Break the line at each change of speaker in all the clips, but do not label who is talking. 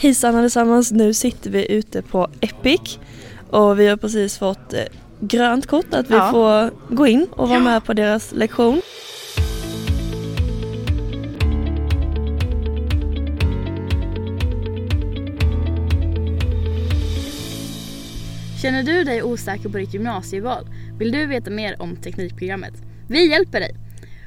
Hejsan allesammans, nu sitter vi ute på Epic och vi har precis fått eh, grönt kort att vi
Ja.
får gå in och vara med på deras lektion.
Känner du dig osäker på ditt gymnasieval? Vill du veta mer om Teknikprogrammet? Vi hjälper dig!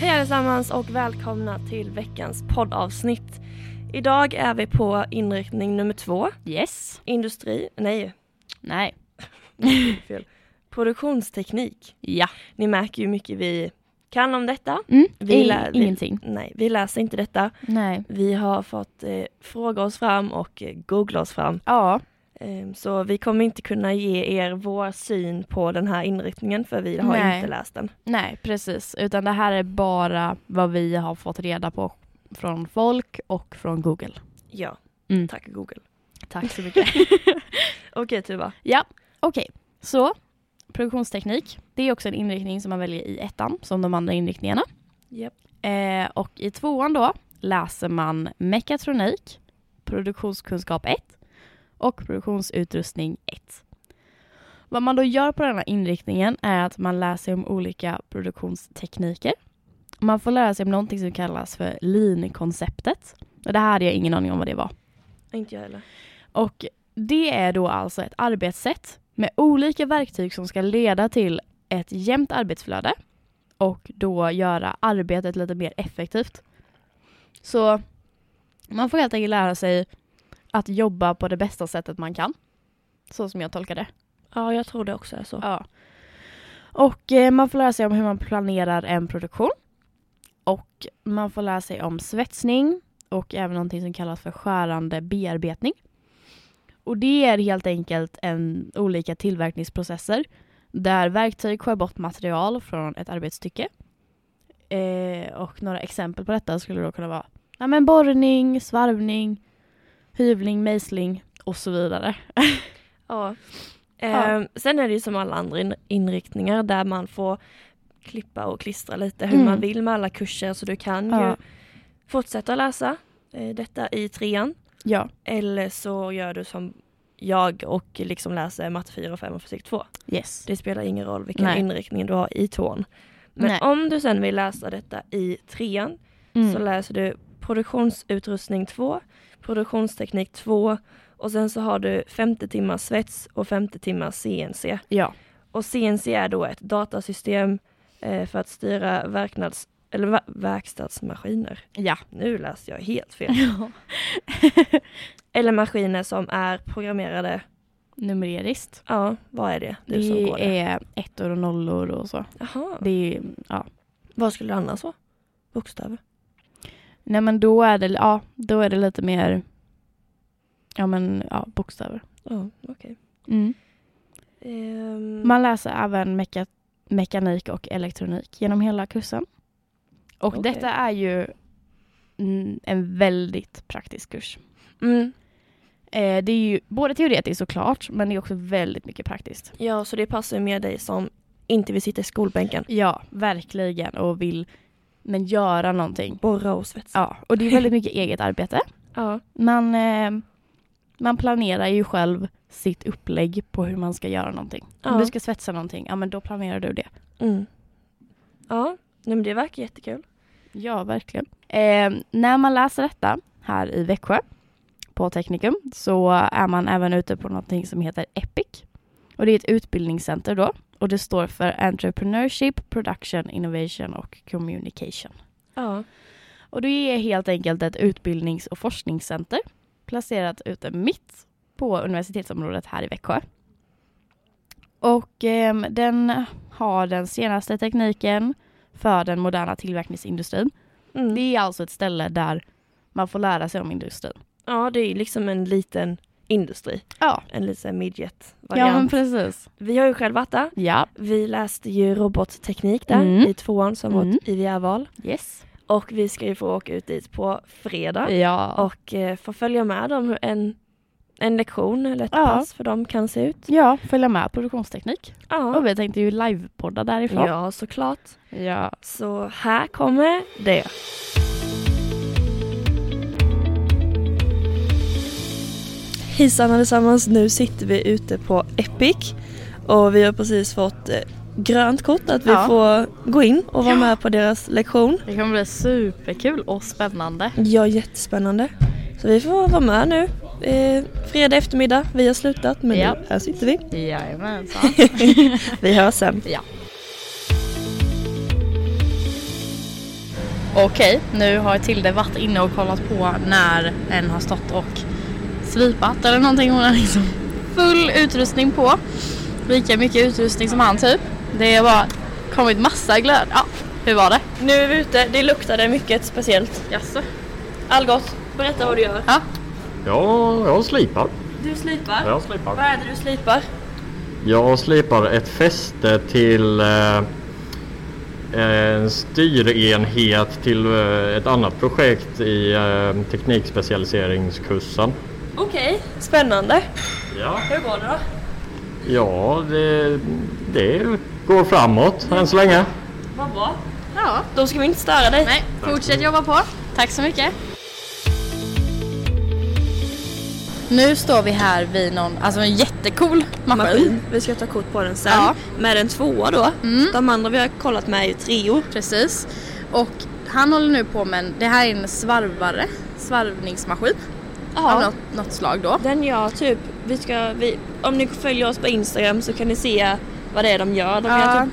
Hej allesammans och välkomna till veckans poddavsnitt. Idag är vi på inriktning nummer två,
Yes.
industri, nej,
Nej.
fel, produktionsteknik.
Ja.
Ni märker ju hur mycket vi kan om detta.
Mm.
Vi
i-
lär- vi-
Ingenting.
Nej, vi läser inte detta.
Nej.
Vi har fått eh, fråga oss fram och eh, googla oss fram.
Ja.
Ehm, Så vi kommer inte kunna ge er vår syn på den här inriktningen för vi har
Nej.
inte läst den.
Nej, precis. Utan det här är bara vad vi har fått reda på från folk och från Google.
Ja,
Mm.
tack Google.
Tack så mycket.
Okej Tuva,
ja, okej. Så, produktionsteknik. Det är också en inriktning som man väljer i ettan, som de andra inriktningarna.
Japp.
Eh, och i tvåan då läser man mekatronik, produktionskunskap 1 och produktionsutrustning 1. Vad man då gör på den här inriktningen är att man läser om olika produktionstekniker. Man får lära sig om någonting som kallas för lean-konceptet. Och Det här hade jag ingen aning om vad det var.
inte jag heller.
Och det är då alltså ett arbetssätt med olika verktyg som ska leda till ett jämnt arbetsflöde och då göra arbetet lite mer effektivt. Så man får helt enkelt lära sig att jobba på det bästa sättet man kan. Så som jag tolkar det.
Ja, jag tror det också är så.
Ja. Och eh, man får lära sig om hur man planerar en produktion. Och man får lära sig om svetsning och även någonting som kallas för skärande bearbetning. Och det är helt enkelt en, olika tillverkningsprocesser där verktyg skär bort material från ett arbetsstycke. Eh, och några exempel på detta skulle då kunna vara ja, men borrning, svarvning, hyvling, mejsling och så vidare.
Ja. Ehm, Sen är det ju som alla andra in- inriktningar där man får klippa och klistra lite hur
Mm.
man vill med alla kurser så du kan ju
Ja.
fortsätta läsa eh, detta i trean
Ja.
eller så gör du som jag och liksom läser matte 4 och 5 och fysik 2.
Yes.
Det spelar ingen roll vilken
Nej.
inriktning du har i tvåan. Men
Nej.
om du sen vill läsa detta i trean så
Mm.
läser du produktionsutrustning 2, produktionsteknik 2 och sen så har du 50 timmars svets och 50 timmars CNC.
Ja.
Och CNC är då ett datasystem eh, för att styra verknads, eller va- verkstadsmaskiner.
Ja.
Nu läste jag helt fel. Eller maskiner som är programmerade.
Numereriskt.
Ja, vad är det? Du som
det
går det.
är ettor och nollor och så.
Jaha.
Det är, ja.
Vad skulle det annars vara? Bokstäver?
Nej men då är det, ja, då är det lite mer ja, men, ja, bokstäver.
Ja, okej. Mm. Ehm,
Man läser även meka, mekanik och elektronik genom hela kursen. Och
Okej.
detta är ju mm, en väldigt praktisk kurs.
mm,
Eh, det är ju både teoretiskt såklart, men det är också väldigt mycket praktiskt.
ja, så det passar ju med dig som inte vill sitta i skolbänken.
Ja, verkligen. Och vill men göra någonting.
Borra och svetsa.
Ja, och det är väldigt mycket eget arbete.
Ja.
Man, eh, man planerar ju själv sitt upplägg på hur man ska göra någonting.
Ja.
Om du ska svetsa någonting, ja men då planerar du det.
Mm. Ja, nej, men det verkar jättekul.
Ja, verkligen. Eh, när man läser detta här i Växjö på Teknikum så är man även ute på någonting som heter EPIC. Och det är ett utbildningscenter då och det står för Entrepreneurship, Production, Innovation och Communication.
Ja.
Och det är helt enkelt ett utbildnings och forskningscenter placerat ute mitt på universitetsområdet här i Växjö. Och ehm, den har den senaste tekniken för den moderna tillverkningsindustrin
Mm.
Det är alltså ett ställe där man får lära sig om industrin.
Ja, det är liksom en liten industri.
Ja,
En liten midget-variant.
ja men precis.
Vi har ju själv varit där.
Ja.
Vi läste ju robotteknik där
Mm.
i tvåan som
Mm.
var ett IVR-val.
Yes.
Och vi ska ju få åka ut dit på fredag
Ja.
och eh, få följa med dem hur en, en lektion eller ett
Ja.
pass för dem kan se ut.
Ja, följa med produktionsteknik.
Ja,
Och vi tänkte ju livepodda därifrån.
ja såklart.
ja.
Så här kommer det. Hejsan allesammans, nu sitter vi ute på Epic och vi har precis fått eh, grönt kort att vi
Ja.
får gå in och vara med på deras lektion.
Det kommer bli superkul och spännande.
Ja, jättespännande. Så vi får vara med nu. Eh, fredag eftermiddag, vi har slutat men
Ja.
nu, här sitter vi.
Jajamensan.
Vi hörs sen.
Okej, nu har Tilde varit inne och kollat på när en har stått och svipat eller någonting. Hon har liksom full utrustning på. Lika mycket utrustning som han typ. Det har bara kommit massa glöd. Ja, hur var det?
Nu är vi ute, det luktade mycket speciellt.
Jaså?
Algot, berätta vad du gör.
Ja, jag slipar.
Du slipar.
Jag
Vad
slipar.
är det du slipar?
Jag slipar ett fäste till eh, en styrenhet till eh, ett annat projekt i eh, teknikspecialiseringskursen.
Okej, spännande.
Ja,
Hur går det då?
ja det, det går framåt än så länge.
Vad bra.
Ja.
Då ska vi inte störa dig.
Nej, fortsätt jobba på. Tack så mycket. Nu står vi här vid någon, alltså en jättecool maskin.
Maskin. Vi ska ta kort på den sen.
Ja.
Med en tvåa då. De andra vi har kollat med är ju treor.
Precis. Och han håller nu på med en, det här är en svarvare, svarvningsmaskin av något, något slag då.
Den gör typ, vi ska, vi, om ni följer oss på Instagram så kan ni se vad det är de gör. De
Ja.
gör typ,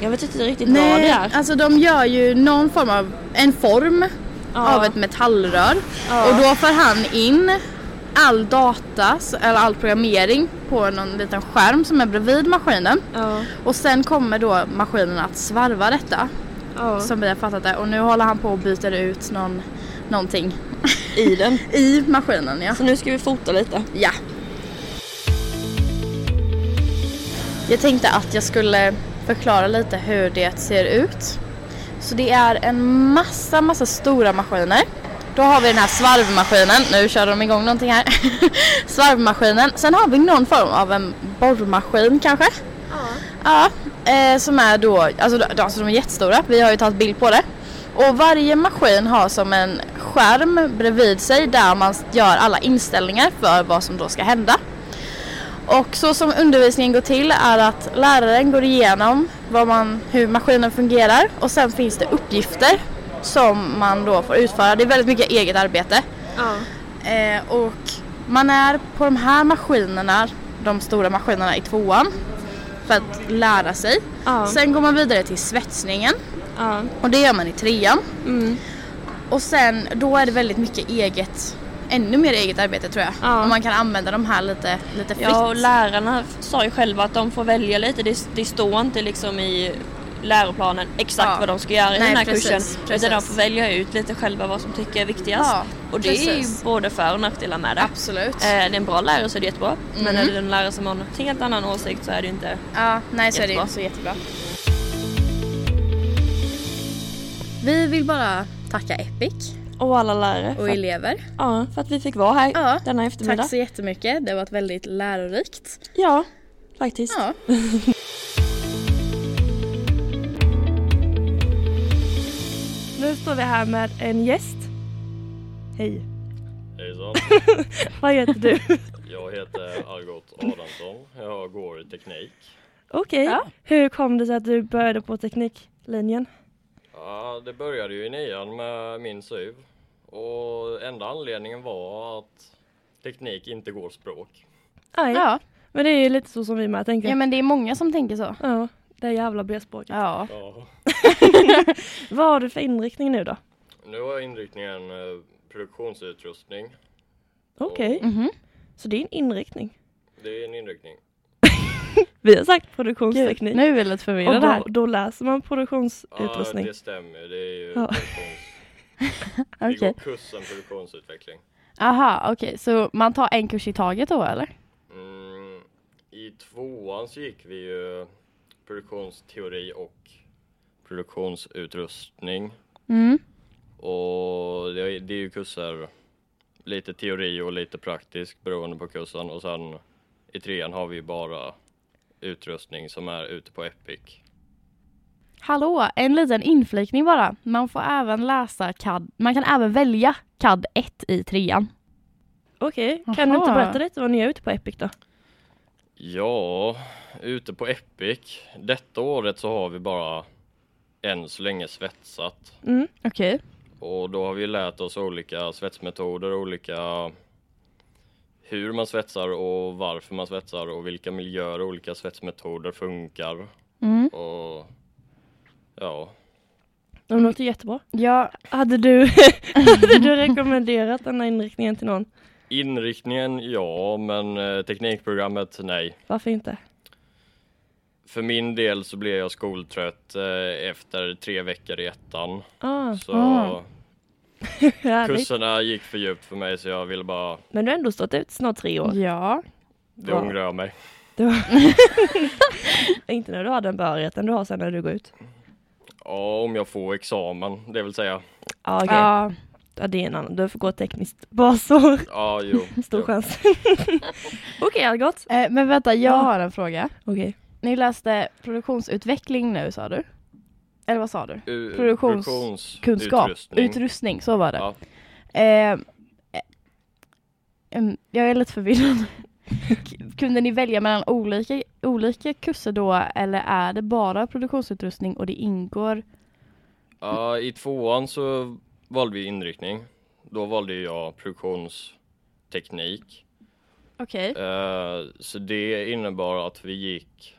jag vet inte riktigt vad det är.
alltså de gör ju någon form av, en form
Ja.
av ett metallrör
Ja.
och då får han in all data, s- eller all programmering på någon liten skärm som är bredvid maskinen
Ja.
och sen kommer då maskinen att svarva detta
Ja.
som vi har fattat det och nu håller han på och byter ut någon, någonting
I den.
i maskinen ja.
Så nu ska vi fota lite.
Ja. Jag tänkte att jag skulle förklara lite hur det ser ut. Så det är en massa, massa stora maskiner. Då har vi den här svarvmaskinen. Nu kör de igång någonting här. svarvmaskinen. Sen har vi någon form av en borrmaskin kanske. Ja. eh, som är då, alltså, de- alltså de är jättestora. Vi har ju tagit bild på det. Och varje maskin har som en skärm bredvid sig där man gör alla inställningar för vad som då ska hända. Och så som undervisningen går till är att läraren går igenom vad man, hur maskinen fungerar och sen finns det uppgifter som man då får utföra. Det är väldigt mycket eget arbete.
Ja.
Eh, och man är på de här maskinerna, de stora maskinerna i tvåan, för att lära sig.
Ja.
Sen går man vidare till svetsningen
Ja.
och det gör man i trean.
Mm.
Och sen då är det väldigt mycket eget, ännu mer eget arbete tror jag.
Ja.
Och man kan använda de här lite, lite fritt.
Ja, och lärarna sa ju själva att de får välja lite. Det, det står inte liksom i läroplanen exakt
Ja.
vad de ska göra i
Nej,
den här
precis,
kursen.
precis.
Utan de får välja ut lite själva vad som tycker är viktigast.
Ja,
och det är ju
precis.
både för och nackdelar med det.
Absolut.
Eh, det är en bra lärare så är det jättebra. Men
Mhm.
är det en lärare som har en helt annan åsikt så är det ju inte...
Ja, nej så är det
Jättebra.
inte så jättebra. Vi vill bara tacka Epic
Och alla lärare.
och
För,
elever.
ja, för att vi fick vara här
Ja,
denna
Tack
eftermiddag.
så jättemycket, det har varit väldigt lärorikt.
Ja, faktiskt.
Ja.
Nu står vi här med en gäst. Hej.
Hejsan,
Vad heter du?
jag heter Algot Adamsson. Jag går i teknik.
Okej. Hur kom det sig att du började på tekniklinjen?
Ja, det började ju i nian med min SUV och enda anledningen var att teknik inte går språk.
Aj.
Ja.
Men det är ju lite så som vi med tänker.
ja, men det är många som tänker så.
Ja, det är jävla B-språket.
Ja.
Ja.
Vad har du för inriktning nu då?
Nu har jag inriktningen eh, produktionsutrustning.
Okej,
Mhm.
Mm. så det är en inriktning.
Det är en inriktning.
Vi har sagt produktionsteknik.
Nu är vi lite
och
förvirrade här.
då, då läser man
Ja,
produktionsutrustning.
det stämmer. Det är ju
Ja.
produktions- Vi
Okej.
går kursen produktionsutveckling.
Aha, okej. Så man tar en kurs i taget då eller?
Mm, I tvåan så gick vi ju produktionsteori och produktionsutrustning.
Mm.
Och det är, det är ju kurser, lite teori och lite praktisk beroende på kursen. Och sen i trean har vi ju bara utrustning som är ute på Epic.
Hallå, en liten inflikning bara. Man får även läsa CAD, man kan även välja CAD 1 i trean.
Okej, kan du inte
Aha.
berätta lite vad ni gör ute på Epic då?
Ja, ute på Epic. Detta året så har vi bara än så länge svetsat.
Mm.
Okej.
Och då har vi lärt oss olika svetsmetoder, olika hur man svetsar och varför man svetsar och vilka miljöer olika svetsmetoder funkar.
Mm.
Och ja,
De låter
Mm.
jättebra.
Ja,
Hade du, hade du rekommenderat den här inriktningen till någon?
inriktningen ja, men eh, teknikprogrammet nej.
Varför inte?
För min del så blev jag skoltrött eh, efter tre veckor i ettan.
Ah,
Så
Ah.
härligt.
Kurserna gick för djupt för mig så jag ville bara,
Men du har ändå stått ut snart tre år.
ja.
det
Ja.
ångrar jag mig.
Du har... inte när du har den behörigheten du har sen när du går ut.
Ja, om jag får examen, det vill säga.
Ja, okej.
ja.
Ja, det är en annan. Du får gå tekniskt basår.
Ja, jo.
Stor
jo.
chans. Okej, Algot.
Eh, Men vänta, jag
Ja.
har en fråga.
Okej.
Ni läste produktionsutveckling nu sa du? Eller vad sa du?
U-
Produktions- Kunskap, utrustning,
utrustning.
så var det.
Ja.
Eh, em, jag är lite förvirrad. K- Kunde ni välja mellan olika, olika kurser då eller är det bara produktionsutrustning och det ingår?
Ja, I tvåan så valde vi inriktning. Då valde jag produktionsteknik.
Okej.
Eh, så det innebar att vi gick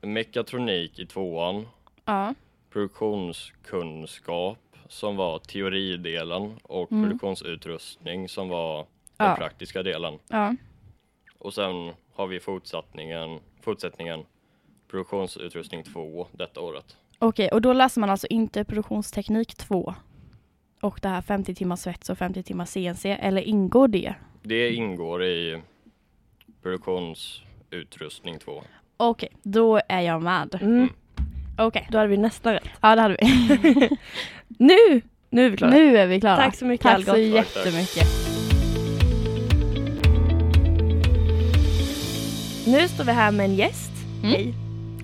mekatronik i tvåan,
Ja.
produktionskunskap som var teoridelen och
Mm.
produktionsutrustning som var den
Ja.
praktiska delen.
ja.
Och sen har vi fortsättningen, fortsättningen produktionsutrustning 2 detta året.
Okej, och då läser man alltså inte produktionsteknik 2 och det här 50 timmars svets och 50 timmars CNC eller ingår det?
Det ingår i produktionsutrustning 2.
Okej, då är jag med.
Mm,
Okej,
då hade vi nästan rätt.
ja det hade vi.
Nu! Nu är vi klara.
Nu är vi klara.
Tack så mycket,
Tack så
Algot.
jättemycket.
Nu står vi här med en gäst.
Mm.
Hej.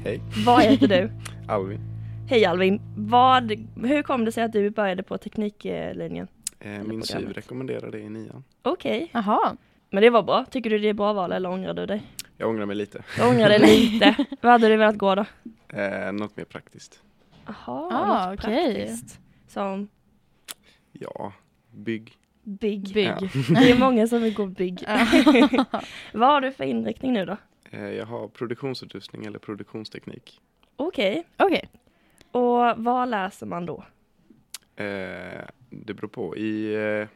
Hej.
Vad heter du?
Alvin.
Hej Alvin. Vad, hur kom det sig att du började på tekniklinjen?
Eh, min syv
programmet.
rekommenderar det i nian.
Okej,
Jaha.
men det var bra. Tycker du det är bra val eller ångrar du dig?
Jag ångrar mig lite.
Jag ångrar dig lite. Vad hade du velat gå då?
Eh, något mer praktiskt.
Jaha,
Ah,
något
okej.
praktiskt. Som
Ja, bygg.
bygg.
Bygg.
Ja.
Det är många som vill gå bygg. Vad har du för inriktning nu då?
Eh, jag har produktionsutrustning eller produktionsteknik.
Okej,
Okej.
och vad läser man då?
Eh, det beror på. I eh,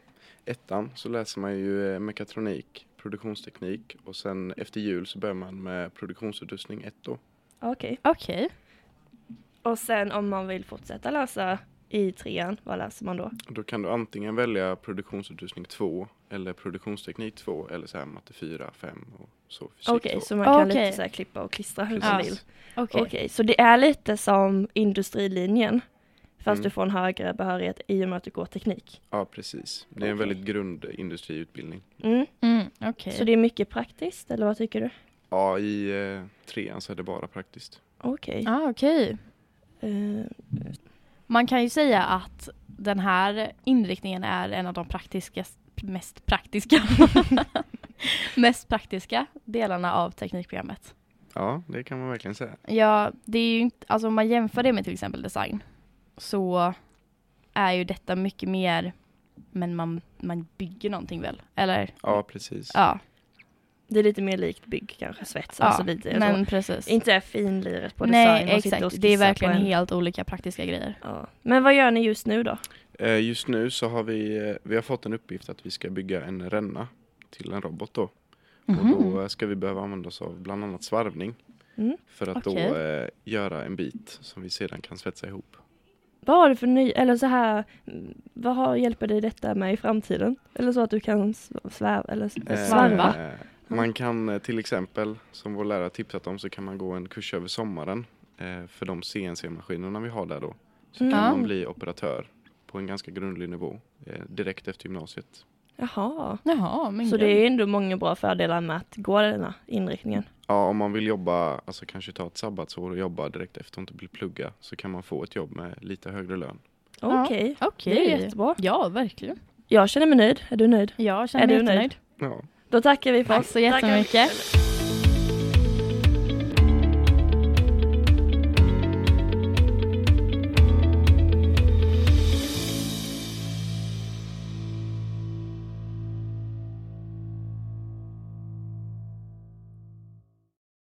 ettan så läser man ju eh, mekatronik, produktionsteknik och sen efter jul så börjar man med produktionsutrustning 1 då.
Okej.
Okej.
Och sen om man vill fortsätta läsa i trean, vad läser man då?
Och Då kan du antingen välja produktionsutrustning 2 eller produktionsteknik 2 eller så här matte 4, 5 och så fysik
Okej,
2.
så man kan
Okej.
lite så här klippa och klistra hur man
Precis.
vill.
Okej.
Okej, så det är lite som industrilinjen fast
Mm.
du får en högre behörighet i och med att du går teknik.
Ja, precis. Det är en
Okej.
väldigt grundindustriutbildning.
Mm.
Mm, okej.
Så det är mycket praktiskt, eller vad tycker du?
Ja, i eh, trean så är det bara praktiskt.
Okej.
ah, okej.
Eh,
Man kan ju säga att den här inriktningen är en av de praktiska, mest praktiska mest praktiska delarna av teknikprogrammet.
Ja, det kan man verkligen säga.
Ja, det är ju inte, alltså om man jämför det med till exempel design så är ju detta mycket mer men man, man bygger någonting väl? Eller?
Ja, precis.
Mm. Ja,
det är lite mer likt bygg kanske, svets,
ja
alltså lite
men precis.
så. Inte finliret på design.
Nej,
och sitta och
exakt. Det är
skissa på
verkligen
en-
helt olika praktiska grejer.
Ja. Men vad gör ni just nu då?
Eh, just nu så har vi, eh, vi har fått en uppgift att vi ska bygga en ränna till en robot då. Och
Mhm.
då eh, ska vi behöva använda oss av bland annat svarvning
Mm.
för att då
Okej.
eh, göra en bit som vi sedan kan svetsa ihop.
vad har du för ny, eller så här, mm, vad har, hjälper dig detta med i framtiden? Eller så att du kan sv- sväva, eller s-
Eh,
svarva.
Man kan eh, till exempel, som vår lärare tipsat om, så kan man gå en kurs över sommaren eh, för de CNC-maskinerna vi har där då. Så
Mm.
kan
Ja.
man bli operatör på en ganska grundlig nivå eh, direkt efter gymnasiet.
Jaha.
Jaha, men
Så det
gud.
är ändå många bra fördelar med att gå den här inriktningen.
Ja, om man vill jobba, alltså kanske ta ett sabbatsår och jobba direkt efter och inte vill plugga, så kan man få ett jobb med lite högre lön.
Ja.
Okej,
Okej.
det är jättebra.
Ja, verkligen.
Jag känner mig nöjd, är du nöjd?
Jag
Är
känner mig
du nöjd?
jättenöjd.
Ja.
Då tackar vi för
Tack
oss.
så jättemycket.
Tackar.